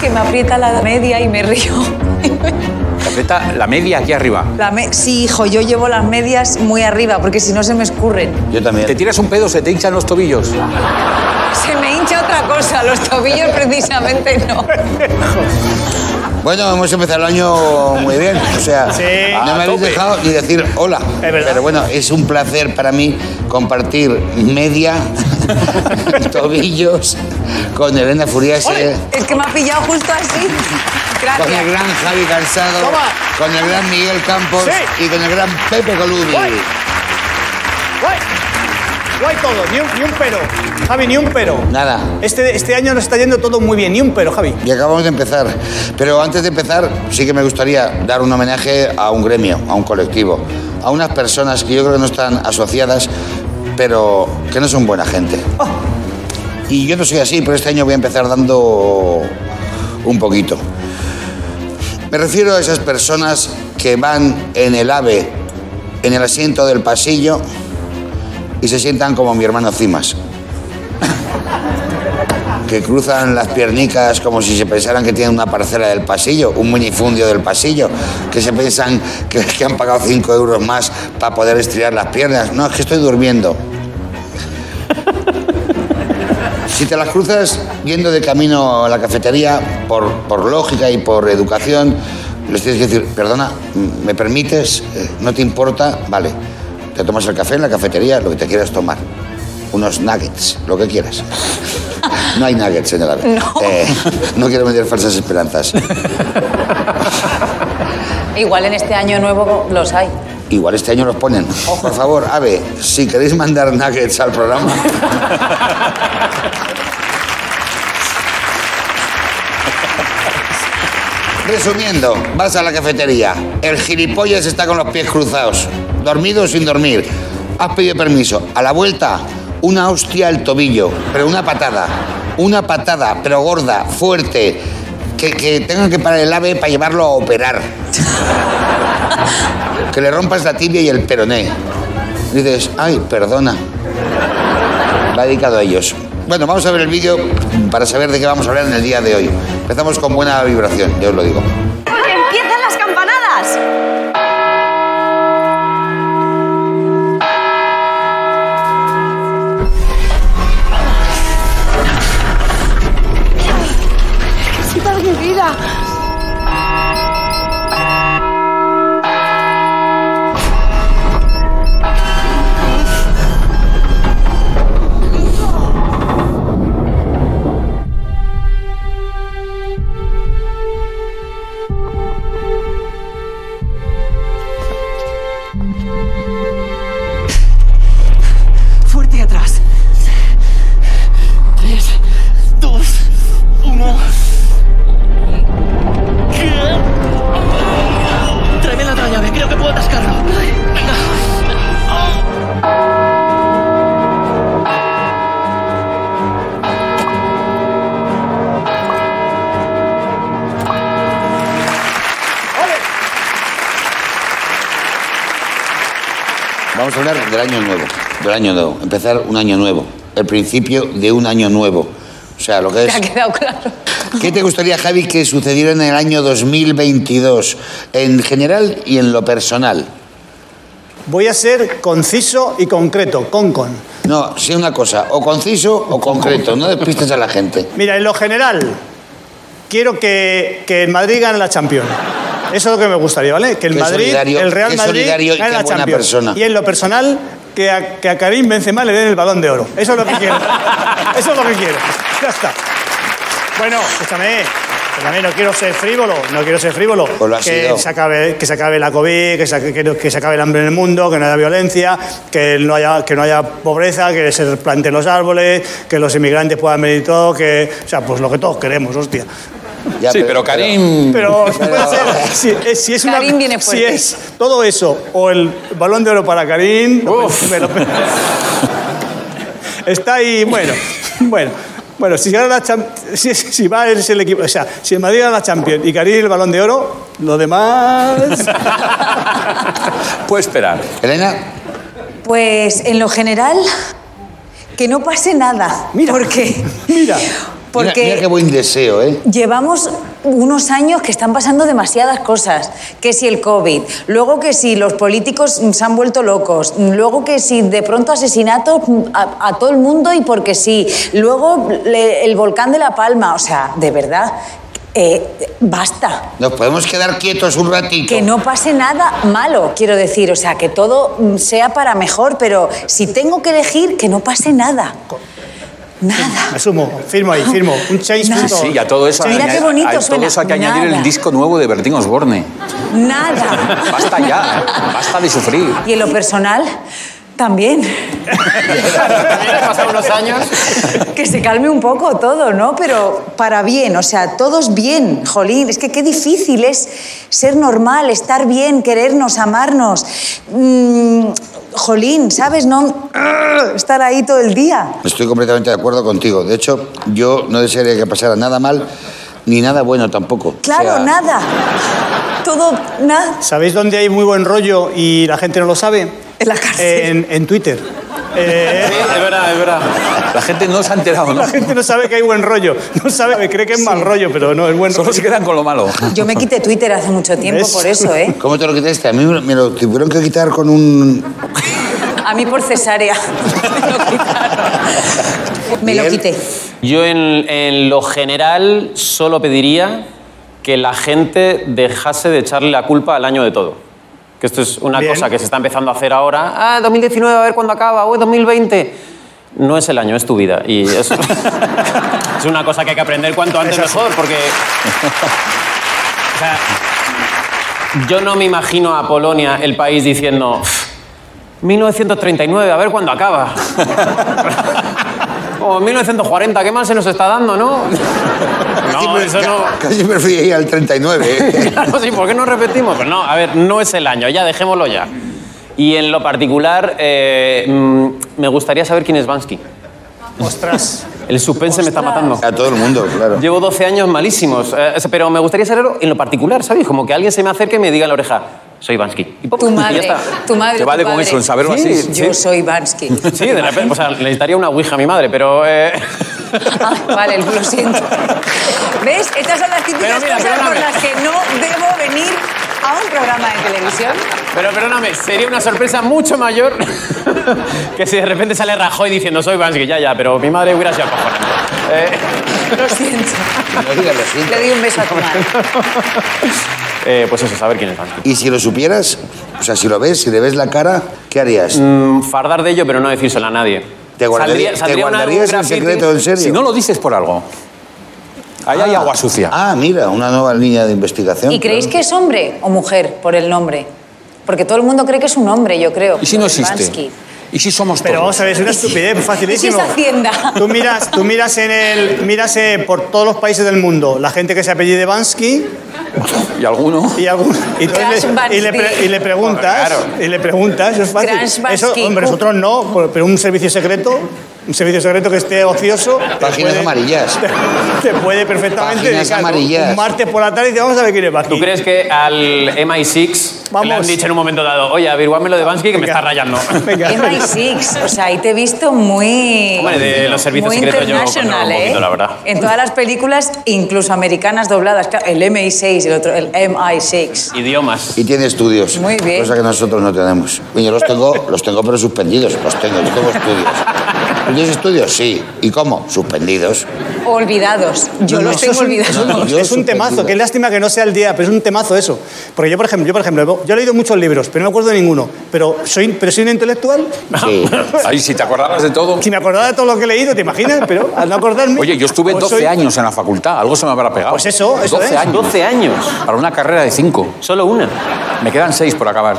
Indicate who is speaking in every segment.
Speaker 1: que me aprieta la media y me río.
Speaker 2: Te aprieta la media aquí arriba.
Speaker 1: La me- sí, hijo, yo llevo las medias muy arriba porque si no se me escurren.
Speaker 3: Yo también.
Speaker 2: Te tiras un pedo, se te hinchan los tobillos.
Speaker 1: Se me hincha otra cosa, los tobillos precisamente no.
Speaker 3: Bueno, hemos empezado el año muy bien. O sea,
Speaker 4: Sí.
Speaker 3: no me
Speaker 2: A
Speaker 3: habéis
Speaker 2: tope.
Speaker 3: dejado ni decir hola.
Speaker 4: Es verdad.
Speaker 3: Pero bueno, es un placer para mí compartir media, tobillos, con Elena Furiase,
Speaker 1: Es que me ha pillado justo así.
Speaker 3: con el
Speaker 1: Gracias.
Speaker 3: gran Javi Cansado,
Speaker 4: Toma.
Speaker 3: con el gran Miguel Campos
Speaker 4: Sí.
Speaker 3: y con el gran Pepe Colubi.
Speaker 4: Guay. Guay. Guay todo, ni un, ni un pero. Javi, ni un pero.
Speaker 3: Nada.
Speaker 4: Este, este año nos está yendo todo muy bien, ni un pero, Javi.
Speaker 3: Y acabamos de empezar. Pero antes de empezar, sí que me gustaría dar un homenaje a un gremio, a un colectivo, a unas personas que yo creo que no están asociadas, pero que no son buena gente. Y yo no soy así, pero este año voy a empezar dando un poquito. Me refiero a esas personas que van en el AVE, en el asiento del pasillo, y se sientan como mi hermano Cimas que cruzan las piernicas como si se pensaran que tienen una parcela del pasillo, un minifundio del pasillo, que se piensan que, que han pagado 5 euros más para poder estirar las piernas. No, es que estoy durmiendo. Si te las cruzas yendo de camino a la cafetería, por, por lógica y por educación, les tienes que decir, perdona, ¿me permites? Eh, ¿No te importa? Vale, te tomas el café en la cafetería, lo que te quieras tomar. Unos nuggets, lo que quieras. No hay nuggets en el ave.
Speaker 1: No.
Speaker 3: Eh, no quiero vender falsas esperanzas.
Speaker 1: Igual en este año nuevo los hay.
Speaker 3: Igual este año los ponen. Por favor, ave, si queréis mandar nuggets al programa. Resumiendo, vas a la cafetería. El gilipollas está con los pies cruzados, dormido o sin dormir. Has pedido permiso. A la vuelta, una hostia al tobillo, pero una patada. Una patada, pero gorda, fuerte. Que, que tengan que parar el ave para llevarlo a operar. Que le rompas la tibia y el peroné. Dices, ay, perdona. Va dedicado a ellos. Bueno, vamos a ver el vídeo para saber de qué vamos a hablar en el día de hoy. Empezamos con buena vibración, yo os lo digo.
Speaker 5: ¡Porque empiezan las campanadas!
Speaker 6: ¡Quita mi vida!
Speaker 7: Fuerte atrás. Tres, dos, uno. ¿Qué? Tráeme la otra llave, creo que puedo atascarlo. Venga.
Speaker 3: Vamos a hablar del año nuevo. Del año nuevo. Empezar un año nuevo. El principio de un año nuevo. O sea, lo que
Speaker 1: ¿Te
Speaker 3: es...
Speaker 1: ha quedado claro?
Speaker 3: ¿Qué te gustaría, Javi, que sucediera en el año 2022? En general y en lo personal.
Speaker 4: Voy a ser conciso y concreto, con con.
Speaker 3: No, sea una cosa, o conciso o concreto. No despistes a la gente.
Speaker 4: Mira, en lo general, quiero que, que el Madrid gane la Champions. Eso es lo que me gustaría, ¿vale? Que el
Speaker 3: Qué
Speaker 4: Madrid,
Speaker 3: solidario,
Speaker 4: el Real
Speaker 3: qué
Speaker 4: Madrid
Speaker 3: solidario y
Speaker 4: gane
Speaker 3: qué
Speaker 4: la
Speaker 3: buena
Speaker 4: Champions.
Speaker 3: persona.
Speaker 4: Y en lo personal, que a, que a Karim Benzema le den el balón de oro. Eso es lo que quiero. Eso es lo que quiero. Ya está. Bueno, escúchame. Escúchame, no quiero ser frívolo, no quiero ser frívolo.
Speaker 3: Pues lo has
Speaker 4: que,
Speaker 3: sido.
Speaker 4: se acabe, que se acabe la COVID, que se, acabe- que no- que se acabe el hambre en el mundo, que no haya violencia, que no haya, que no haya pobreza, que se planten los árboles, que los inmigrantes puedan venir todo, que. O sea, pues lo que todos queremos, hostia.
Speaker 3: Ya,
Speaker 2: sí, pero Karim.
Speaker 4: Pero puede ser- si, es- si es una-
Speaker 1: Karim viene
Speaker 4: si
Speaker 1: fuerte.
Speaker 4: es todo eso o el balón de oro para Karim. lo
Speaker 2: Uf.
Speaker 4: pe- me lo pe- está ahí, bueno, bueno. Bueno, si, gana la Cham- si, si va a ser el equipo, o sea, si el Madrid gana la Champions y Karim el balón de oro, lo demás.
Speaker 2: Puede esperar.
Speaker 3: Elena,
Speaker 1: Pues en lo general, que no pase nada.
Speaker 4: Mira,
Speaker 1: Porque,
Speaker 4: mira.
Speaker 3: Mira-
Speaker 1: Porque
Speaker 3: Mira, qué buen deseo, ¿eh?
Speaker 1: Llevamos unos años que están pasando demasiadas cosas. Que si el COVID, luego que si los políticos mm, se han vuelto locos, mm, luego que si de pronto asesinatos mm, a, a todo el mundo y porque sí, luego le- el volcán de La Palma, o sea, de verdad, eh, basta.
Speaker 3: Nos podemos quedar quietos un ratito.
Speaker 1: Que no pase nada malo, quiero decir, o sea, que todo mm, sea para mejor, pero si tengo que elegir, que no pase nada. Nada.
Speaker 4: Asumo, firmo ahí, firmo. Un change.
Speaker 1: Nada.
Speaker 4: punto.
Speaker 2: Sí, y a todo eso,
Speaker 1: Mira
Speaker 2: añadi-
Speaker 1: qué bonito
Speaker 2: a todo
Speaker 1: suena.
Speaker 2: eso hay que añadir
Speaker 1: Nada.
Speaker 2: el disco nuevo de Bertín Osborne.
Speaker 1: Nada.
Speaker 2: Basta ya, basta de sufrir.
Speaker 1: Y en lo personal, también.
Speaker 8: pasado unos años.
Speaker 1: Que se calme un poco todo, ¿no? Pero para bien, o sea, todos bien, jolín. Es que qué difícil es ser normal, estar bien, querernos, amarnos. Mm, jolín, ¿sabes? No estar ahí todo el día.
Speaker 3: Estoy completamente de acuerdo contigo. De hecho, yo no desearía que pasara nada mal ni nada bueno tampoco. O
Speaker 1: Claro,
Speaker 3: sea,
Speaker 1: nada. Todo, nada.
Speaker 4: ¿Sabéis dónde hay muy buen rollo y la gente no lo sabe?
Speaker 1: En la cárcel.
Speaker 4: En, en Twitter. Eh,
Speaker 2: es verdad, es verdad. La gente no se ha enterado, ¿no?
Speaker 4: la gente no sabe que hay buen rollo. No sabe, cree que es mal rollo, pero no, es buen
Speaker 2: Solo se
Speaker 4: rollo.
Speaker 2: quedan con lo malo.
Speaker 1: Yo me quité Twitter hace mucho tiempo
Speaker 4: ¿Ves?
Speaker 1: por eso, ¿eh?
Speaker 3: ¿Cómo te lo quitaste? A mí me lo tuvieron que quitar con un...
Speaker 1: A mí por cesárea. Me lo quitaron. Me lo
Speaker 3: Bien.
Speaker 1: quité.
Speaker 8: Yo en, en lo general solo pediría que la gente dejase de echarle la culpa al año de todo. Que esto es una
Speaker 4: Bien.
Speaker 8: cosa que se está empezando a hacer ahora. Ah, 2019, a ver cuándo acaba. Uy, 2020. No es el año, es tu vida. Y es, es una cosa que hay que aprender cuanto antes mejor, porque... O sea, yo no me imagino a Polonia, el país, diciendo... 1939, a ver cuándo acaba. O 1940, ¿qué más se nos está dando, no? No, eso no.
Speaker 3: Casi prefería ir al 39. ¿eh?
Speaker 8: Claro, sí, ¿por qué no repetimos? Pues no, a ver, no es el año, ya dejémoslo ya. Y en lo particular, eh, mm, me gustaría saber quién es Bansky.
Speaker 4: Ostras.
Speaker 8: El suspense me está matando.
Speaker 3: A todo el mundo, claro.
Speaker 8: Llevo 12 años malísimos, eh, pero me gustaría saberlo en lo particular, ¿sabéis? Como que alguien se me acerque y me diga en la oreja, soy Bansky. Y pop,
Speaker 1: Tu
Speaker 8: y ya
Speaker 1: madre,
Speaker 8: está.
Speaker 1: tu madre.
Speaker 2: Te
Speaker 1: tu
Speaker 2: vale con
Speaker 1: padre.
Speaker 2: eso, en saberlo
Speaker 8: Sí,
Speaker 2: así.
Speaker 1: Yo soy Bansky.
Speaker 8: Sí, de repente, o sea, necesitaría una ouija a mi madre, pero... eh,
Speaker 1: Ah, vale, lo siento. ¿Ves? Estas son las típicas
Speaker 8: Pero mira,
Speaker 1: cosas por
Speaker 8: perdóname.
Speaker 1: las que no debo venir a un programa de televisión.
Speaker 8: Pero perdóname, sería una sorpresa mucho mayor que si de repente sale Rajoy diciendo soy Bansky, ya, ya, pero mi madre hubiera sido acojonante. Eh,
Speaker 1: Lo siento.
Speaker 3: No digas lo siento.
Speaker 1: Le di un beso a tu madre.
Speaker 8: eh, pues eso, saber quién es Bansky.
Speaker 3: Y si lo supieras, o sea, si lo ves, si le ves la cara, ¿qué harías?
Speaker 8: Mm, Fardar de ello, pero no decírselo a nadie.
Speaker 3: ¿Te, guardaría- te
Speaker 8: una- un
Speaker 3: guardarías el
Speaker 8: graffiti?
Speaker 3: secreto en serio?
Speaker 2: Si no lo dices por algo. Ahí hay agua sucia.
Speaker 3: Ah, mira, una nueva línea de investigación.
Speaker 1: ¿Y creéis que es hombre o mujer por el nombre? Porque todo el mundo cree que es un hombre, yo creo.
Speaker 2: ¿Y si no
Speaker 1: Lo de Bansky.
Speaker 2: existe? ¿Y si somos
Speaker 4: Pero
Speaker 2: todos?
Speaker 4: vamos a ver, es una estupidez, facilísimo.
Speaker 1: ¿Y si es Hacienda?
Speaker 4: Tú miras, tú miras en el. Miras eh, por todos los países del mundo la gente que se apellide Bansky
Speaker 2: ¿Y alguno?
Speaker 4: y algún. Y, entonces
Speaker 1: Crash Bansky.
Speaker 4: le, y, le, pre- y le preguntas. Y le preguntas, eso es fácil.
Speaker 1: Crash
Speaker 4: Eso,
Speaker 1: Bansky.
Speaker 4: hombre, nosotros no, pero- pero un servicio secreto. Un servicio secreto que esté ocioso. te
Speaker 3: Páginas amarillas.
Speaker 4: Te, puede perfectamente.
Speaker 3: Páginas
Speaker 4: dedicar
Speaker 3: amarillas.
Speaker 4: Un martes por la tarde y te vamos a ver quién es Bansky.
Speaker 8: ¿Tú crees que al MI6 le han
Speaker 4: Vamos.
Speaker 8: dicho en un momento dado, oye, averiguadme lo de Bansky que me está rayando?
Speaker 4: Venga.
Speaker 1: MI6, o sea, ahí te he visto muy.
Speaker 8: Hombre, de los servicios
Speaker 1: muy
Speaker 8: secretos yo
Speaker 1: international,
Speaker 8: controlo un poquito,
Speaker 1: ¿eh?
Speaker 8: la verdad.
Speaker 1: En todas las películas, incluso americanas dobladas. claro, El MI6, el otro, el MI6.
Speaker 8: Idiomas.
Speaker 3: Y tiene estudios.
Speaker 1: Muy bien.
Speaker 3: Cosa que nosotros no tenemos. Bueno, yo los tengo, los tengo pero suspendidos. Los tengo, yo tengo estudios. ¿Tú tienes estudios? Sí. ¿Y cómo? Suspendidos.
Speaker 1: Olvidados. Yo
Speaker 4: No, no,
Speaker 1: los
Speaker 4: eso
Speaker 1: tengo
Speaker 4: es un-
Speaker 1: olvidados.
Speaker 3: no, no, yo
Speaker 4: es un
Speaker 3: súper
Speaker 4: temazo,
Speaker 3: duda.
Speaker 4: qué lástima que no sea el día, pero es un temazo eso. Porque yo, por ejemplo, yo, por ejemplo, yo he leído muchos libros, pero no me acuerdo de ninguno. Pero soy, pero soy un intelectual.
Speaker 3: Sí.
Speaker 2: Ahí, si te acordabas de todo.
Speaker 4: Si me acordaba de todo lo que he leído, ¿te imaginas? Pero al no acordarme.
Speaker 2: Oye, yo estuve
Speaker 4: pues
Speaker 2: 12
Speaker 4: soy-
Speaker 2: años en la facultad, algo se me habrá pegado.
Speaker 4: Pues eso, eso
Speaker 2: 12
Speaker 4: es.
Speaker 2: años.
Speaker 8: 12 años.
Speaker 2: Para una carrera de 5.
Speaker 8: Solo una.
Speaker 2: Me quedan 6 por acabar.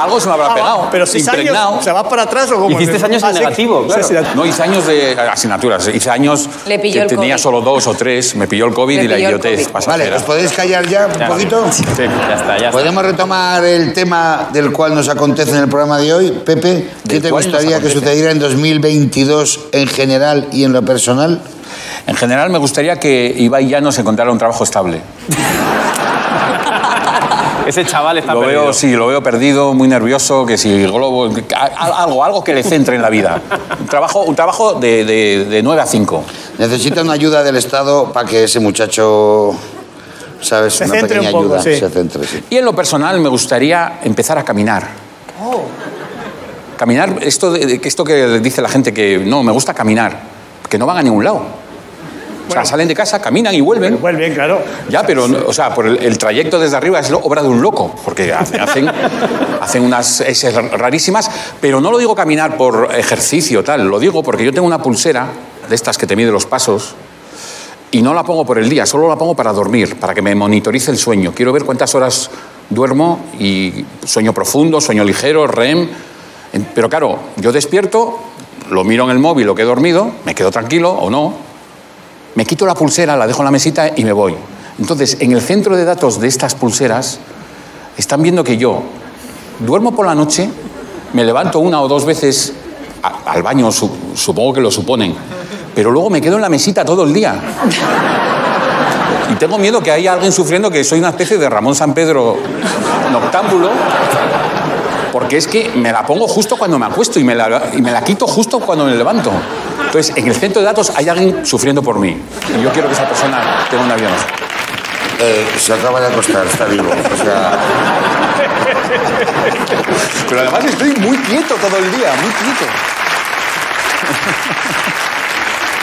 Speaker 2: algo se me habrá
Speaker 4: Ah,
Speaker 2: pegado.
Speaker 4: pero seis años.
Speaker 2: impregnado.
Speaker 4: O sea, vas para atrás o como.
Speaker 8: Hiciste años en negativo, claro.
Speaker 2: No, hice años de asignaturas. Hice años
Speaker 1: Le pilló
Speaker 2: que
Speaker 1: el
Speaker 2: tenía
Speaker 1: COVID.
Speaker 2: solo dos o tres. Me pilló el COVID
Speaker 1: Le
Speaker 2: y la
Speaker 1: pilló el
Speaker 2: idiotez
Speaker 1: COVID.
Speaker 3: Vale,
Speaker 2: pasajera.
Speaker 3: ¿os podéis callar ya un poquito?
Speaker 8: Sí, ya está, ya está.
Speaker 3: Podemos retomar el tema del cual nos acontece en el programa de hoy. Pepe, ¿qué
Speaker 2: Del
Speaker 3: te
Speaker 2: cual nos
Speaker 3: gustaría que
Speaker 2: acontece.
Speaker 3: sucediera en 2022 en general y en lo personal?
Speaker 2: En general, me gustaría que Ibai ya nos encontrara un trabajo estable.
Speaker 8: Ese chaval está
Speaker 2: Lo
Speaker 8: perdido.
Speaker 2: veo, sí, lo veo perdido, muy nervioso, que si el globo, que- a- algo, algo que le centre en la vida. Un trabajo, un trabajo de, de, de 9 a 5.
Speaker 3: Necesita una ayuda del Estado para que ese muchacho, ¿sabes?
Speaker 4: Se
Speaker 3: una
Speaker 4: centre
Speaker 3: pequeña
Speaker 4: un poco,
Speaker 3: ayuda
Speaker 4: sí.
Speaker 3: se centre, sí.
Speaker 2: Y en lo personal me gustaría empezar a caminar. Caminar, esto, de- que esto que dice la gente que no, me gusta caminar, que no van a ningún lado. o sea, salen de casa, caminan y vuelven.
Speaker 4: Pues bien, claro.
Speaker 2: Ya, pero, no- o sea, por el, el trayecto desde arriba es lo- obra de un loco, porque hace- hacen, hacen unas S rarísimas, pero no lo digo caminar por ejercicio, tal, lo digo porque yo tengo una pulsera de estas que te mide los pasos y no la pongo por el día, solo la pongo para dormir, para que me monitorice el sueño. Quiero ver cuántas horas duermo y sueño profundo, sueño ligero, REM. En- Pero claro, yo despierto, lo miro en el móvil, lo que he dormido, me quedo tranquilo o no, me quito la pulsera, la dejo en la mesita y me voy. Entonces, en el centro de datos de estas pulseras están viendo que yo duermo por la noche, me levanto una o dos veces a- al baño, su- supongo que lo suponen, pero luego me quedo en la mesita todo el día. Y tengo miedo que haya alguien sufriendo que soy una especie de Ramón San Pedro noctámbulo. Porque es que me la pongo justo cuando me acuesto y me, la, y me la quito justo cuando me levanto. Entonces, en el centro de datos hay alguien sufriendo por mí. Y yo quiero que esa persona tenga un avión.
Speaker 3: Eh, se acaba de acostar, está vivo. O sea,
Speaker 2: Pero además estoy muy quieto todo el día, muy quieto.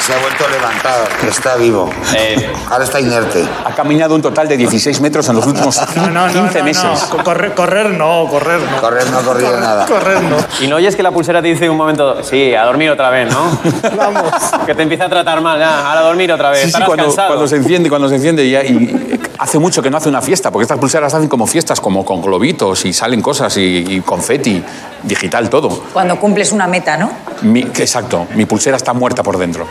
Speaker 3: se ha vuelto a levantar, está vivo.
Speaker 2: Eh.
Speaker 3: Ahora está inerte.
Speaker 2: Ha caminado un total de 16 metros en los últimos
Speaker 4: No, no, no,
Speaker 2: 15
Speaker 4: no,
Speaker 2: meses.
Speaker 4: no. Co- Correr, correr no, correr no.
Speaker 3: Correr no ha corrido nada.
Speaker 4: Correr no.
Speaker 8: Y no oyes que la pulsera te dice en un momento, sí, a dormir otra vez, ¿no?
Speaker 4: Vamos.
Speaker 8: Que te empieza a tratar mal, ya, ahora a dormir otra vez.
Speaker 2: Sí, sí,
Speaker 8: estarás
Speaker 2: cuando,
Speaker 8: cansado.
Speaker 2: cuando se enciende, cuando se enciende ya, y hace mucho que no hace una fiesta, porque estas pulseras hacen como fiestas, como con globitos y salen cosas y, y confeti, digital todo.
Speaker 1: Cuando cumples una meta, ¿no?
Speaker 2: Mi- exacto, mi pulsera está muerta por dentro.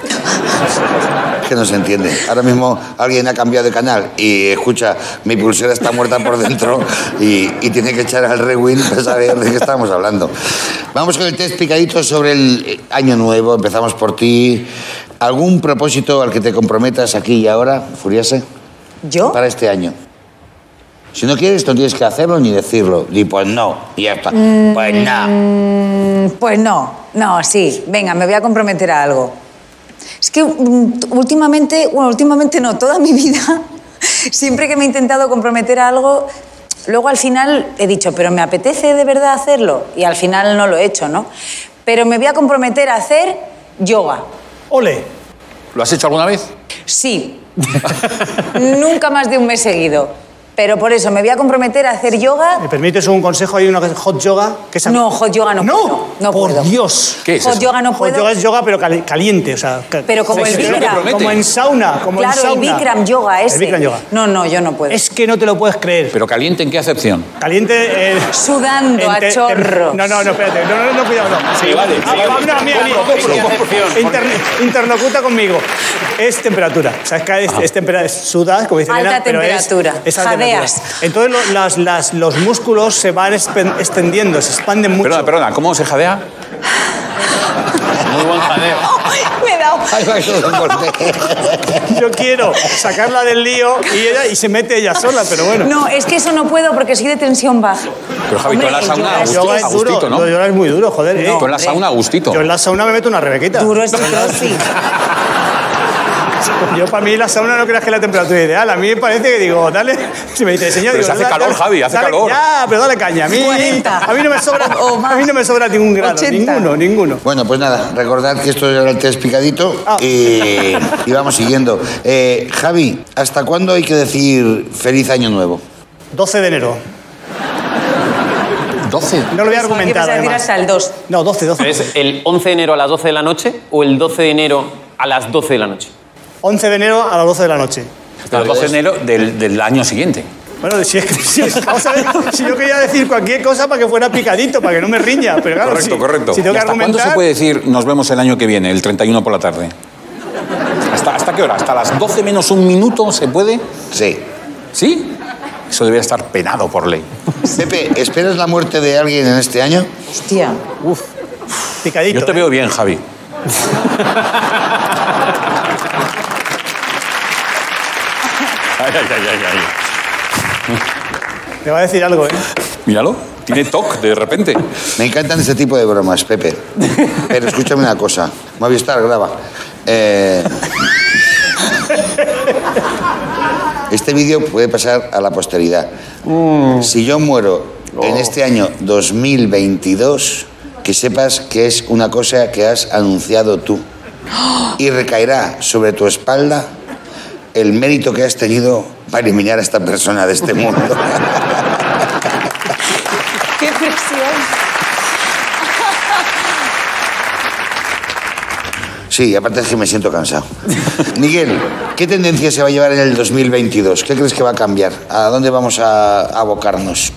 Speaker 3: que no se entiende. Ahora mismo alguien ha cambiado de canal y escucha, mi pulsera está muerta por dentro y, y tiene que echar al rewind para saber de qué estamos hablando. Vamos con el test picadito sobre el eh, año nuevo. Empezamos por ti. ¿Algún propósito al que te comprometas aquí y ahora, Furiase,
Speaker 1: ¿Yo?
Speaker 3: para este año? Si no quieres, no tienes que hacerlo ni decirlo. Di, pues no, y ya está. Pues no.
Speaker 1: Pues no, no, sí. Venga, me voy a comprometer a algo. Es que mm, últimamente, bueno, últimamente no, toda mi vida, siempre que me he intentado comprometer a algo, luego al final he dicho, pero me apetece de verdad hacerlo. Y al final no lo he hecho, ¿no? Pero me voy a comprometer a hacer yoga.
Speaker 4: Ole.
Speaker 2: ¿Lo has hecho alguna vez?
Speaker 1: Sí. Nunca más de un mes seguido. Pero por eso me voy a comprometer a hacer yoga.
Speaker 4: ¿Me permites un consejo? Hay una que es hot yoga. Que es-
Speaker 1: No, hot yoga no,
Speaker 4: no.
Speaker 1: puedo. No
Speaker 4: por
Speaker 1: puedo.
Speaker 4: Dios.
Speaker 2: ¿Qué es
Speaker 1: hot
Speaker 2: eso?
Speaker 1: yoga no
Speaker 4: Hot
Speaker 1: puedo.
Speaker 4: yoga es yoga, pero cali- caliente. O sea, ca-
Speaker 1: Pero como
Speaker 4: Sí,
Speaker 1: el
Speaker 4: sí, sí.
Speaker 1: Bikram.
Speaker 4: Como en sauna. Como en
Speaker 1: Claro, el
Speaker 4: sauna.
Speaker 1: Bikram yoga ese.
Speaker 4: El Bikram yoga.
Speaker 1: No, no, yo no puedo.
Speaker 4: Es que no te lo puedes creer.
Speaker 2: ¿Pero caliente en qué acepción?
Speaker 4: Caliente. eh,
Speaker 1: Sudando
Speaker 4: en
Speaker 1: a
Speaker 4: te- te-
Speaker 1: chorro.
Speaker 4: No, no, no, espérate. No, no, no, cuidado, no.
Speaker 2: Sí, vale, sí,
Speaker 4: Ah,
Speaker 2: vale.
Speaker 4: no, mira, mira.
Speaker 2: Compro, compro,
Speaker 4: Inter-
Speaker 2: compro.
Speaker 4: inter- interlocuta conmigo. Es temperatura. O sea, es que es,
Speaker 2: Ah.
Speaker 4: es temperatura. Sudas, como dice
Speaker 1: Alta
Speaker 4: Elena, pero es-
Speaker 1: temperatura.
Speaker 4: es alta
Speaker 1: Jadeas.
Speaker 4: temperatura. Entonces lo- las, las, los músculos se van expen- extendiendo, se expanden mucho.
Speaker 2: Perdona, perdona, ¿cómo se jadea?
Speaker 8: Muy buen jadeo.
Speaker 1: Me he dado.
Speaker 3: Ay, va, que lo corté.
Speaker 4: Yo quiero sacarla del lío y, ella, y se mete ella sola, pero bueno.
Speaker 1: No, es que eso no puedo porque soy de tensión baja.
Speaker 2: Pero Javi,
Speaker 1: Hombre,
Speaker 2: tú en la
Speaker 1: el yoga
Speaker 2: sauna a
Speaker 1: es
Speaker 2: gusto,
Speaker 4: Yoga
Speaker 2: a
Speaker 4: es
Speaker 2: gustito,
Speaker 4: duro.
Speaker 2: ¿no?
Speaker 4: Lo yoga es muy duro, joder. eh.
Speaker 2: Tú en la sauna a gustito.
Speaker 4: Yo en la sauna me meto una rebequita.
Speaker 1: Duro es el crossfit.
Speaker 4: Yo para mí la sauna no creas que es la temperatura ideal. A mí me parece que digo, dale. Si me dice, señor,
Speaker 2: Pero
Speaker 4: digo,
Speaker 2: se hace
Speaker 4: dale,
Speaker 2: calor,
Speaker 4: dale,
Speaker 2: Javi, hace
Speaker 4: dale-
Speaker 2: calor.
Speaker 4: Ya, pero dale caña. A mí,
Speaker 1: 40.
Speaker 4: a mí no me sobra,
Speaker 1: O más.
Speaker 4: a mí no me sobra ningún grado,
Speaker 1: 80.
Speaker 4: ninguno, ninguno.
Speaker 3: Bueno, pues nada, recordad que esto era el test picadito y, y vamos siguiendo. Eh, Javi, ¿hasta cuándo hay que decir feliz año nuevo?
Speaker 4: 12 de enero.
Speaker 2: 12.
Speaker 4: No
Speaker 1: Pensaba
Speaker 4: lo voy a
Speaker 1: que ibas
Speaker 4: argumentar
Speaker 1: a decir
Speaker 4: además.
Speaker 1: hasta el 2.
Speaker 4: No, 12, 12.
Speaker 8: Pero ¿Es el 11 de enero a las 12 de la noche o el 12 de enero a las 12 de la noche?
Speaker 4: 11 de enero a las 12 de la noche.
Speaker 2: El 12 de enero del, del año siguiente.
Speaker 4: Bueno, si es que si es- vamos a ver, si yo quería decir cualquier cosa para que fuera picadito, para que no me riña, pero claro,
Speaker 2: correcto,
Speaker 4: si,
Speaker 2: correcto.
Speaker 4: si tengo
Speaker 2: ¿Y
Speaker 4: que
Speaker 2: ¿Hasta cuándo
Speaker 4: argumentar,
Speaker 2: se puede decir nos vemos el año que viene, el 31 por la tarde? ¿Hasta, hasta qué hora? ¿Hasta las 12 menos un minuto se puede?
Speaker 3: Sí.
Speaker 2: ¿Sí? Eso debería estar penado por ley.
Speaker 3: Pepe, ¿esperas la muerte de alguien en este año?
Speaker 1: Hostia.
Speaker 4: picadito.
Speaker 2: Yo te veo bien, Javi. Ay, ay, ay, ay, ay.
Speaker 4: Te va a decir algo, ¿eh?
Speaker 2: Míralo, tiene toque de repente.
Speaker 3: Me encantan este tipo de bromas, Pepe. Pero escúchame una cosa. Movistar, graba. Eh, este vídeo puede pasar a la posteridad. Si yo muero en este año 2022, que sepas que es una cosa que has anunciado tú. Y recaerá sobre tu espalda el mérito que has tenido para eliminar a esta persona de este mundo.
Speaker 1: ¡Qué presión!
Speaker 3: Sí, aparte es que me siento cansado. Miguel, ¿qué tendencia se va a llevar en el 2022? ¿Qué crees que va a cambiar? ¿A dónde vamos a abocarnos?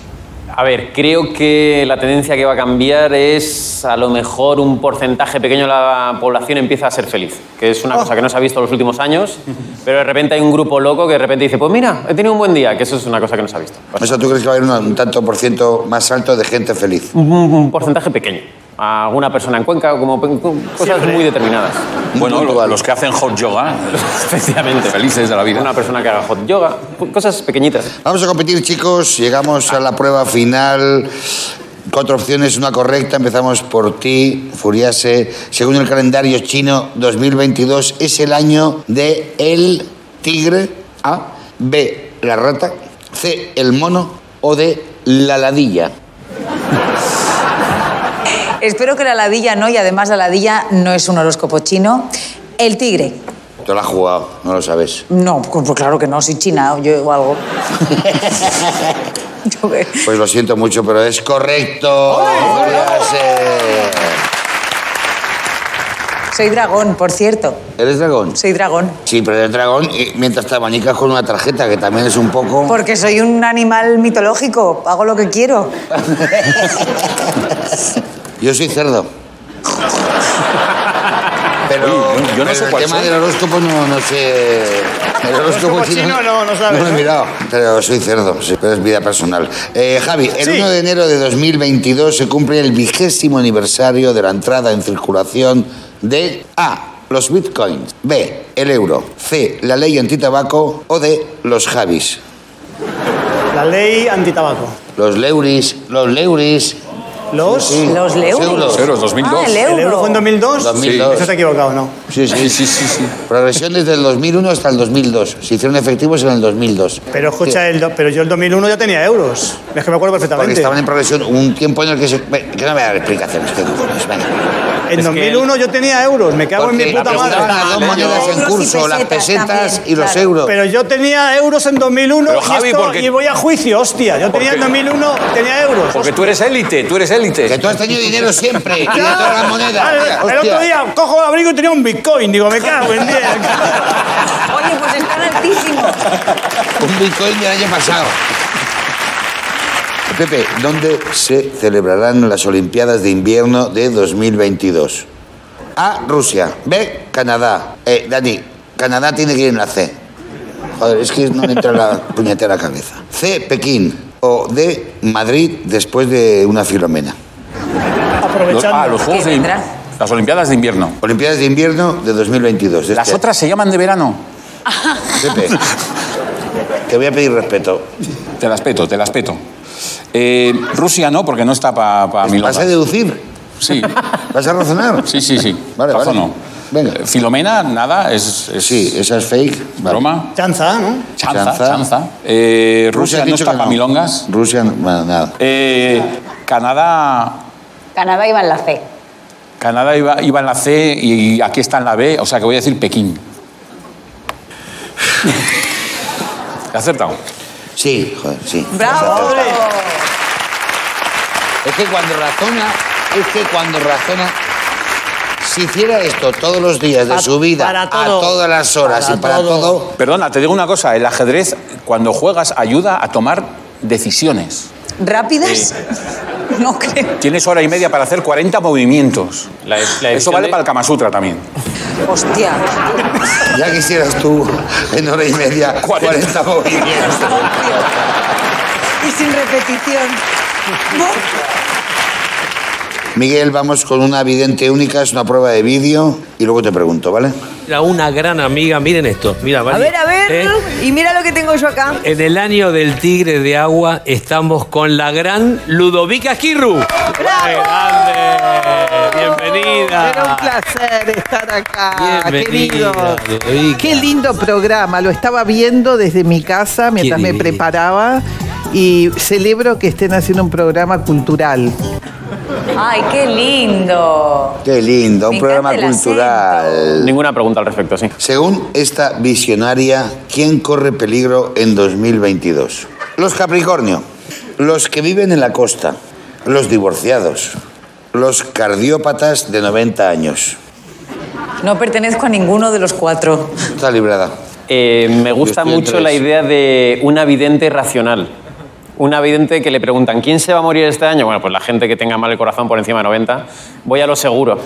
Speaker 8: A ver, creo que la tendencia que va a cambiar es a lo mejor un porcentaje pequeño de la población empieza a ser feliz, que es
Speaker 2: Ah.
Speaker 8: una cosa que no se ha visto en los últimos años, pero de repente hay un grupo loco que de repente dice, pues mira, he tenido un buen día, que eso es una cosa que no se ha visto.
Speaker 3: O sea, ¿tú crees que va a haber un, un tanto por ciento más alto de gente feliz?
Speaker 8: Un, un porcentaje pequeño. A alguna persona en Cuenca, como pe- cosas muy determinadas.
Speaker 2: Bueno,
Speaker 3: punto
Speaker 2: lo-
Speaker 3: alto.
Speaker 2: los que hacen hot yoga,
Speaker 8: Efectivamente.
Speaker 2: felices de la vida.
Speaker 8: Una persona que haga hot yoga, cosas pequeñitas.
Speaker 3: Vamos a competir, chicos. Llegamos a la prueba final. Cuatro opciones, una correcta. Empezamos por ti, Furiase. Según el calendario chino, 2022 es el año de el tigre. A. B. La rata. C. El mono. O D. La ladilla.
Speaker 1: Espero que la ladilla no, y además la ladilla no es un horóscopo chino. El tigre.
Speaker 3: Te la has jugado, no lo sabes.
Speaker 1: No, pues claro que no, soy china, yo o algo. Yo que-
Speaker 3: Pues lo siento mucho, pero es correcto. Furiase.
Speaker 1: soy dragón, por cierto.
Speaker 3: ¿Eres dragón?
Speaker 1: Soy dragón.
Speaker 3: Sí, pero eres dragón y mientras te abanicas con una tarjeta, que también es un poco...
Speaker 1: Porque soy un animal mitológico, hago lo que quiero.
Speaker 3: Yo soy cerdo. Pero,
Speaker 2: Oye, yo no
Speaker 3: pero
Speaker 2: sé
Speaker 3: el
Speaker 2: cuál
Speaker 3: tema
Speaker 2: soy.
Speaker 3: del horóscopo no, no sé. El horóscopo
Speaker 4: horóscopo chino no, no sabes,
Speaker 3: lo he
Speaker 4: ¿no?
Speaker 3: mirado, pero soy cerdo, sí, pero es vida personal. Eh, Javi, el
Speaker 4: Sí.
Speaker 3: 1 de enero de 2022 se cumple el vigésimo aniversario de la entrada en circulación de A. Los bitcoins. B. El euro. C. La ley antitabaco. O D. Los Javis.
Speaker 4: La ley antitabaco.
Speaker 3: Los leuris. Los leuris.
Speaker 4: Los.
Speaker 3: Sí, sí.
Speaker 1: Los leuris.
Speaker 3: euros.
Speaker 2: Euros, 2002.
Speaker 1: Ah, el euro.
Speaker 4: ¿El euro fue en 2002?
Speaker 3: 2002.
Speaker 4: Eso te he equivocado, ¿no?
Speaker 3: Sí, sí.
Speaker 2: Sí, sí, sí, sí.
Speaker 3: Progresión desde el 2001 hasta el 2002. Se hicieron efectivos en el 2002.
Speaker 4: Pero escucha,
Speaker 3: Sí,
Speaker 4: el do- pero yo el 2001 ya tenía euros. Es que me
Speaker 3: Porque
Speaker 4: acuerdo perfectamente.
Speaker 3: estaban en progresión un tiempo en el que se... ve, Que no me voy a dar explicaciones, qué cojones, venga.
Speaker 4: En 2001 yo tenía euros, me cago en mi
Speaker 3: Porque
Speaker 4: puta madre.
Speaker 3: apuntaban las dos monedas
Speaker 1: Euros
Speaker 3: en
Speaker 1: y
Speaker 3: curso, las
Speaker 1: pesetas
Speaker 3: pesetas
Speaker 1: también,
Speaker 3: y los
Speaker 1: claro.
Speaker 3: euros.
Speaker 4: Pero yo tenía euros en 2001
Speaker 2: Pero,
Speaker 4: y,
Speaker 2: Javi,
Speaker 4: esto-
Speaker 2: ¿por qué?
Speaker 4: y voy a juicio, hostia. Yo tenía en
Speaker 2: qué?
Speaker 4: 2001, tenía euros.
Speaker 2: Porque tú eres élite, tú eres élite.
Speaker 3: Que tú has tenido dinero siempre y de
Speaker 4: Ya.
Speaker 3: todas las monedas.
Speaker 4: Vale,
Speaker 3: Venga,
Speaker 4: el otro
Speaker 3: hostia.
Speaker 4: día cojo el abrigo y tenía un bitcoin. Digo, me cago en 10.
Speaker 1: Oye, pues están altísimos.
Speaker 3: Un bitcoin del año pasado. Pepe, ¿dónde se celebrarán las Olimpiadas de Invierno de 2022? A, Rusia. B, Canadá. Eh, Dani, Canadá tiene que ir en la C. Joder, es que no me entra la puñetera cabeza. C, Pekín. O D, Madrid después de una filomena.
Speaker 2: Los-
Speaker 4: Aprovechando.
Speaker 2: ah, los Juegos
Speaker 1: ¿Qué
Speaker 2: de
Speaker 1: vendrá?
Speaker 2: Las Olimpiadas de invierno.
Speaker 3: Olimpiadas de Invierno de 2022. de
Speaker 2: Las
Speaker 3: este
Speaker 2: otras se llaman de verano.
Speaker 3: año. Pepe, te voy a pedir respeto.
Speaker 2: Te las peto, te las peto. Eh, Rusia no, porque no está para pa mi
Speaker 3: ¿Vas a deducir?
Speaker 2: Sí,
Speaker 3: ¿Vas a razonar?
Speaker 2: sí, sí, sí.
Speaker 3: Vale,
Speaker 2: Razo
Speaker 3: vale.
Speaker 2: no.
Speaker 3: Venga.
Speaker 2: Eh, Filomena, nada, es, es
Speaker 3: Sí, esa es fake. Vale.
Speaker 2: broma.
Speaker 4: Chanza, ¿no?
Speaker 2: Chanza,
Speaker 3: Chanza.
Speaker 2: chanza. Eh,
Speaker 3: Rusia
Speaker 2: Rusia, no
Speaker 3: ha dicho
Speaker 2: está
Speaker 3: que
Speaker 2: para
Speaker 3: no.
Speaker 2: milongas.
Speaker 3: Rusia, no- bueno, nada.
Speaker 2: Eh, Canadá,
Speaker 1: Canadá iba en la fe.
Speaker 2: Canadá iba, iba en la C y aquí está en la B, o sea que voy a decir Pekín. He acertado.
Speaker 3: Sí, joder, sí.
Speaker 1: ¡Bravo!
Speaker 3: Es que cuando razona, es que cuando razona, si hiciera esto todos los días de
Speaker 4: Pa-
Speaker 3: su vida,
Speaker 4: para
Speaker 3: a
Speaker 4: todo.
Speaker 3: todas las horas
Speaker 4: Para
Speaker 3: y para todo,
Speaker 4: todo.
Speaker 2: Perdona, te digo una cosa, el ajedrez cuando juegas ayuda a tomar decisiones.
Speaker 1: ¿Rápidas? No creo.
Speaker 2: Tienes hora y media para hacer 40 movimientos.
Speaker 8: La- la
Speaker 2: Eso
Speaker 8: decisión
Speaker 2: vale
Speaker 8: de-
Speaker 2: para el Kama Sutra también.
Speaker 1: Hostia.
Speaker 3: ya quisieras tú en hora y media 40
Speaker 2: 40
Speaker 3: movimientos.
Speaker 1: Y sin repetición.
Speaker 3: Miguel, vamos con una vidente única, es una prueba de vídeo y luego te pregunto, ¿vale?
Speaker 9: Era una gran amiga, miren esto. Mira,
Speaker 5: A
Speaker 9: Vali,
Speaker 5: ver, a ver.
Speaker 9: ¿eh?
Speaker 5: Y mira lo que tengo yo acá.
Speaker 9: En el año del tigre de agua estamos con la gran Ludovica Esquirru. ¡Qué grande! ¡Bienvenida!
Speaker 5: Era un
Speaker 10: placer estar acá,
Speaker 9: Ah. Bienvenida,
Speaker 10: queridos.
Speaker 9: Ludovica.
Speaker 10: Qué lindo programa. Lo estaba viendo desde mi casa mientras me
Speaker 9: divino.
Speaker 10: preparaba y celebro que estén haciendo un programa cultural.
Speaker 1: ¡Ay, qué lindo!
Speaker 3: Qué lindo,
Speaker 1: Me
Speaker 3: un programa
Speaker 1: encanta el
Speaker 3: cultural.
Speaker 8: Ninguna pregunta al respecto, sí.
Speaker 3: Según esta visionaria, ¿quién corre peligro en 2022? Los Capricornio, los que viven en la costa, los divorciados, los cardiópatas de 90 años.
Speaker 1: No pertenezco a ninguno de los cuatro.
Speaker 3: Está librada.
Speaker 8: Eh, me
Speaker 3: Yo
Speaker 8: gusta
Speaker 3: estoy
Speaker 8: mucho
Speaker 3: entre
Speaker 8: la
Speaker 3: eso.
Speaker 8: idea de una vidente racional. Una vidente que le preguntan, ¿quién se va a morir este año? Bueno, pues la gente que tenga mal el corazón por encima de 90. Voy a lo seguro.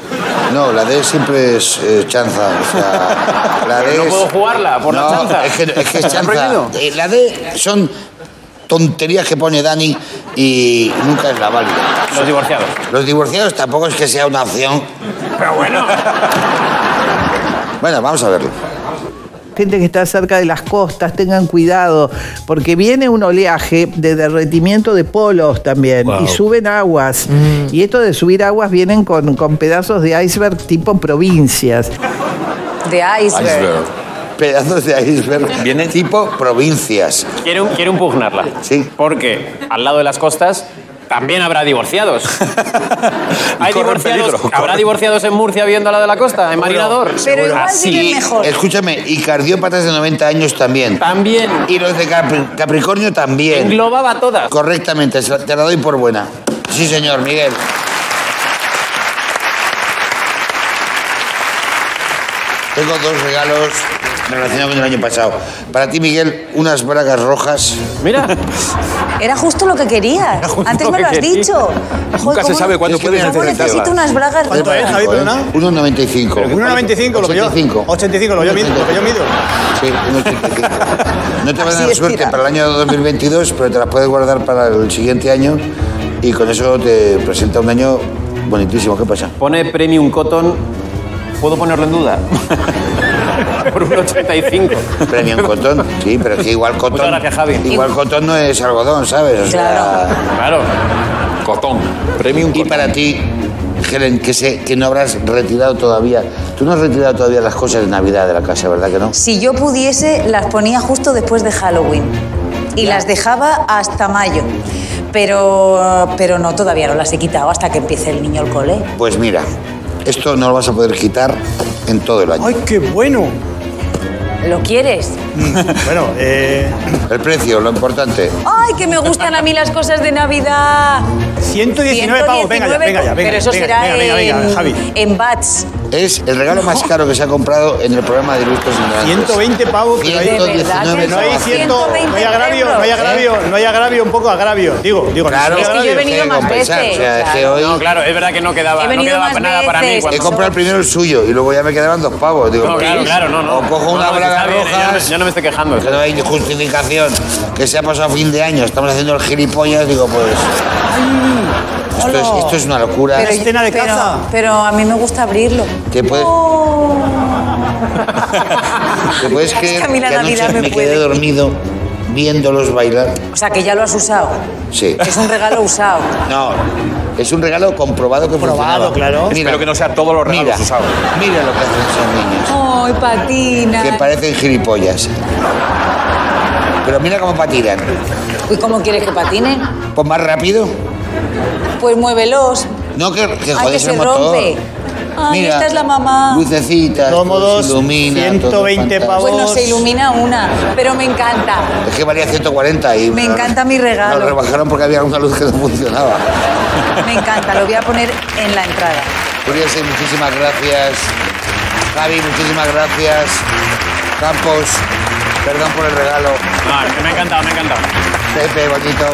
Speaker 3: No, la D siempre es eh, chanza. o sea, la
Speaker 8: Pero
Speaker 3: D
Speaker 8: no
Speaker 3: es-
Speaker 8: puedo jugarla por la
Speaker 3: No,
Speaker 8: chanza.
Speaker 3: Es que, es que es
Speaker 8: ¿Me han
Speaker 3: chanza.
Speaker 8: prohibido?
Speaker 3: Eh, La D son tonterías que pone Dani y nunca es la válida.
Speaker 8: Los divorciados.
Speaker 3: Los divorciados tampoco es que sea una opción.
Speaker 8: Pero bueno.
Speaker 3: Bueno, vamos a verlo.
Speaker 10: Gente que está cerca de las costas, tengan cuidado, porque viene un oleaje de derretimiento de polos también
Speaker 9: Wow.
Speaker 10: y suben aguas.
Speaker 9: Mm.
Speaker 10: Y esto de subir aguas vienen con, con pedazos de iceberg tipo provincias.
Speaker 1: De iceberg.
Speaker 3: Pedazos de iceberg.
Speaker 8: Viene-
Speaker 3: tipo provincias.
Speaker 8: Quiero, quiero impugnarla.
Speaker 3: Sí.
Speaker 8: Porque al lado de las costas también habrá divorciados. Hay
Speaker 2: corren
Speaker 8: divorciados
Speaker 2: peligro,
Speaker 8: ¿Habrá
Speaker 2: corren.
Speaker 8: divorciados en Murcia viendo al lado de la costa? ¿En Marinador?
Speaker 1: Pero igual
Speaker 8: Así.
Speaker 1: viven mejor.
Speaker 3: Escúchame, y cardiópatas de 90 años también.
Speaker 8: También.
Speaker 3: Y los de Capri- Capricornio también.
Speaker 8: Englobaba todas.
Speaker 3: Correctamente, se la- te la doy por buena. Sí, señor, Miguel. Tengo dos regalos relacionados con el año pasado. Para ti, Miguel, unas bragas rojas.
Speaker 8: Mira.
Speaker 1: Era justo lo que querías.
Speaker 8: justo
Speaker 1: Antes
Speaker 8: lo
Speaker 1: me lo
Speaker 8: que
Speaker 1: has
Speaker 8: quería.
Speaker 1: dicho.
Speaker 2: Nunca se
Speaker 1: cómo-
Speaker 2: sabe cuándo
Speaker 1: es que
Speaker 2: puedes
Speaker 1: cómo
Speaker 2: necesitarlas.
Speaker 1: necesito unas bragas
Speaker 4: ¿Cuánto es,
Speaker 1: rojas.
Speaker 4: Javi,
Speaker 3: Cinco, ¿eh?
Speaker 4: perdona?
Speaker 3: 1,95.
Speaker 4: 1,95 lo que yo.
Speaker 3: 85.
Speaker 4: 85 lo yo mido, lo que yo mido.
Speaker 3: Sí, 1,85. No te van a
Speaker 10: Así
Speaker 3: dar
Speaker 10: es,
Speaker 3: suerte
Speaker 10: tira.
Speaker 3: para el año 2022, pero te las puedes guardar para el siguiente año y con eso te presenta un año bonitísimo. ¿Qué pasa?
Speaker 8: Pone Premium Cotton. ¿Puedo ponerlo en duda? Por un 85.
Speaker 3: Premium Cotón. Sí, pero es que igual Cotón.
Speaker 8: gracias, Javi.
Speaker 3: Igual Cotón no es algodón, ¿sabes? O sea,
Speaker 8: Claro.
Speaker 2: Cotón. Premium
Speaker 3: Y
Speaker 2: cotón.
Speaker 3: para ti, Helen, que sé que no habrás retirado todavía. Tú no has retirado todavía las cosas de Navidad de la casa, ¿verdad que no?
Speaker 1: Si yo pudiese, las ponía justo después de Halloween. Y las dejaba hasta mayo. Pero, pero no, todavía no las he quitado hasta que empiece el niño al cole.
Speaker 3: Pues mira, esto no lo vas a poder quitar en todo el año.
Speaker 4: ¡Ay, qué bueno!
Speaker 1: ¿Lo quieres?
Speaker 4: Bueno, eh,
Speaker 3: El precio, lo importante.
Speaker 1: ¡Ay, que me gustan a mí las cosas de Navidad!
Speaker 4: 119 pavos, venga ya,
Speaker 1: 119,
Speaker 4: venga ya. Venga,
Speaker 1: pero eso
Speaker 4: venga,
Speaker 1: será
Speaker 4: venga, venga, venga,
Speaker 1: en,
Speaker 4: Javi.
Speaker 1: en bats.
Speaker 3: Es el regalo más caro que se ha comprado en el programa de Ilustres Ignorantes.
Speaker 4: 120 pavos, pero hay-
Speaker 1: De verdad que
Speaker 3: 119
Speaker 4: no hay
Speaker 3: pavos.
Speaker 4: cierto, no hay
Speaker 1: 120
Speaker 4: agravio, no hay
Speaker 1: euros,
Speaker 4: agravio, no hay agravio, un poco agravio. Digo, digo,
Speaker 3: Claro,
Speaker 4: no
Speaker 1: Es que yo he
Speaker 4: agravio.
Speaker 1: venido
Speaker 3: que
Speaker 1: más
Speaker 3: compensar,
Speaker 1: veces,
Speaker 3: O sea, es que
Speaker 1: claro.
Speaker 3: hoy
Speaker 8: No, claro, es verdad que no quedaba,
Speaker 1: He
Speaker 8: no
Speaker 1: venido
Speaker 8: quedaba
Speaker 1: más
Speaker 8: nada para mí.
Speaker 1: veces.
Speaker 3: he
Speaker 8: Cuando...
Speaker 3: comprado primero el suyo y luego ya me quedaban dos pavos. Digo,
Speaker 8: No, claro, claro, no, no.
Speaker 3: O cojo
Speaker 8: No,
Speaker 3: una
Speaker 8: no,
Speaker 3: braga
Speaker 8: está bien,
Speaker 3: roja.
Speaker 8: Yo, no me- yo no me estoy quejando.
Speaker 3: Que no hay justificación. Que se ha pasado fin de año. Estamos haciendo el gilipollas. Digo, pues. Esto es, esto es una locura.
Speaker 4: Pero- escena de
Speaker 1: pero-
Speaker 4: caza.
Speaker 1: pero a mí me gusta abrirlo.
Speaker 3: Te puedes-
Speaker 1: Oh.
Speaker 3: ¿Te puedes
Speaker 1: este Es que
Speaker 3: creer
Speaker 1: a mí la
Speaker 3: que anoche
Speaker 1: Navidad me
Speaker 3: me
Speaker 1: puede.
Speaker 3: quedé dormido viéndolos bailar?
Speaker 1: O sea, que ya lo has usado.
Speaker 3: Sí.
Speaker 1: Es un regalo usado.
Speaker 3: No, es un regalo comprobado que
Speaker 4: Probado,
Speaker 3: funcionaba.
Speaker 4: claro.
Speaker 2: Espero que no sea todos los regalos
Speaker 3: mira,
Speaker 2: usados.
Speaker 3: Mira lo que hacen esos niños,
Speaker 1: ¡Ay, patina!
Speaker 3: que parecen gilipollas. Pero mira cómo patinan.
Speaker 1: ¿Y cómo quieres que patinen?
Speaker 3: Pues más rápido.
Speaker 1: Pues muévelos.
Speaker 3: No que, que
Speaker 1: ¡Ay, que
Speaker 3: jodes
Speaker 1: se
Speaker 3: el motor.
Speaker 1: rompe! ¡Ay,
Speaker 3: Mira,
Speaker 1: esta es la mamá!
Speaker 3: Lucecitas, todo
Speaker 4: Cómodos,
Speaker 3: se ilumina, todo es
Speaker 4: 120
Speaker 3: fantástico.
Speaker 4: pavos.
Speaker 1: Bueno, se ilumina una, pero me encanta.
Speaker 3: Es que valía 140 y...
Speaker 1: Me encanta mi regalo.
Speaker 3: Lo rebajaron porque había una luz que no funcionaba.
Speaker 1: Me encanta, lo voy a poner en la entrada.
Speaker 3: Uriase, muchísimas gracias. Javi, muchísimas gracias. Campos, perdón por el regalo.
Speaker 8: No, es que me ha encantado, me ha encantado.
Speaker 3: Pepe, bonito.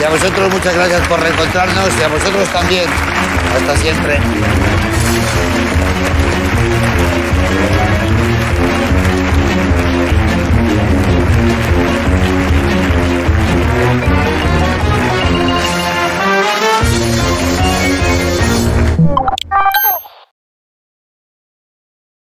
Speaker 3: Y a vosotros muchas gracias por reencontrarnos y a vosotros también. Hasta siempre.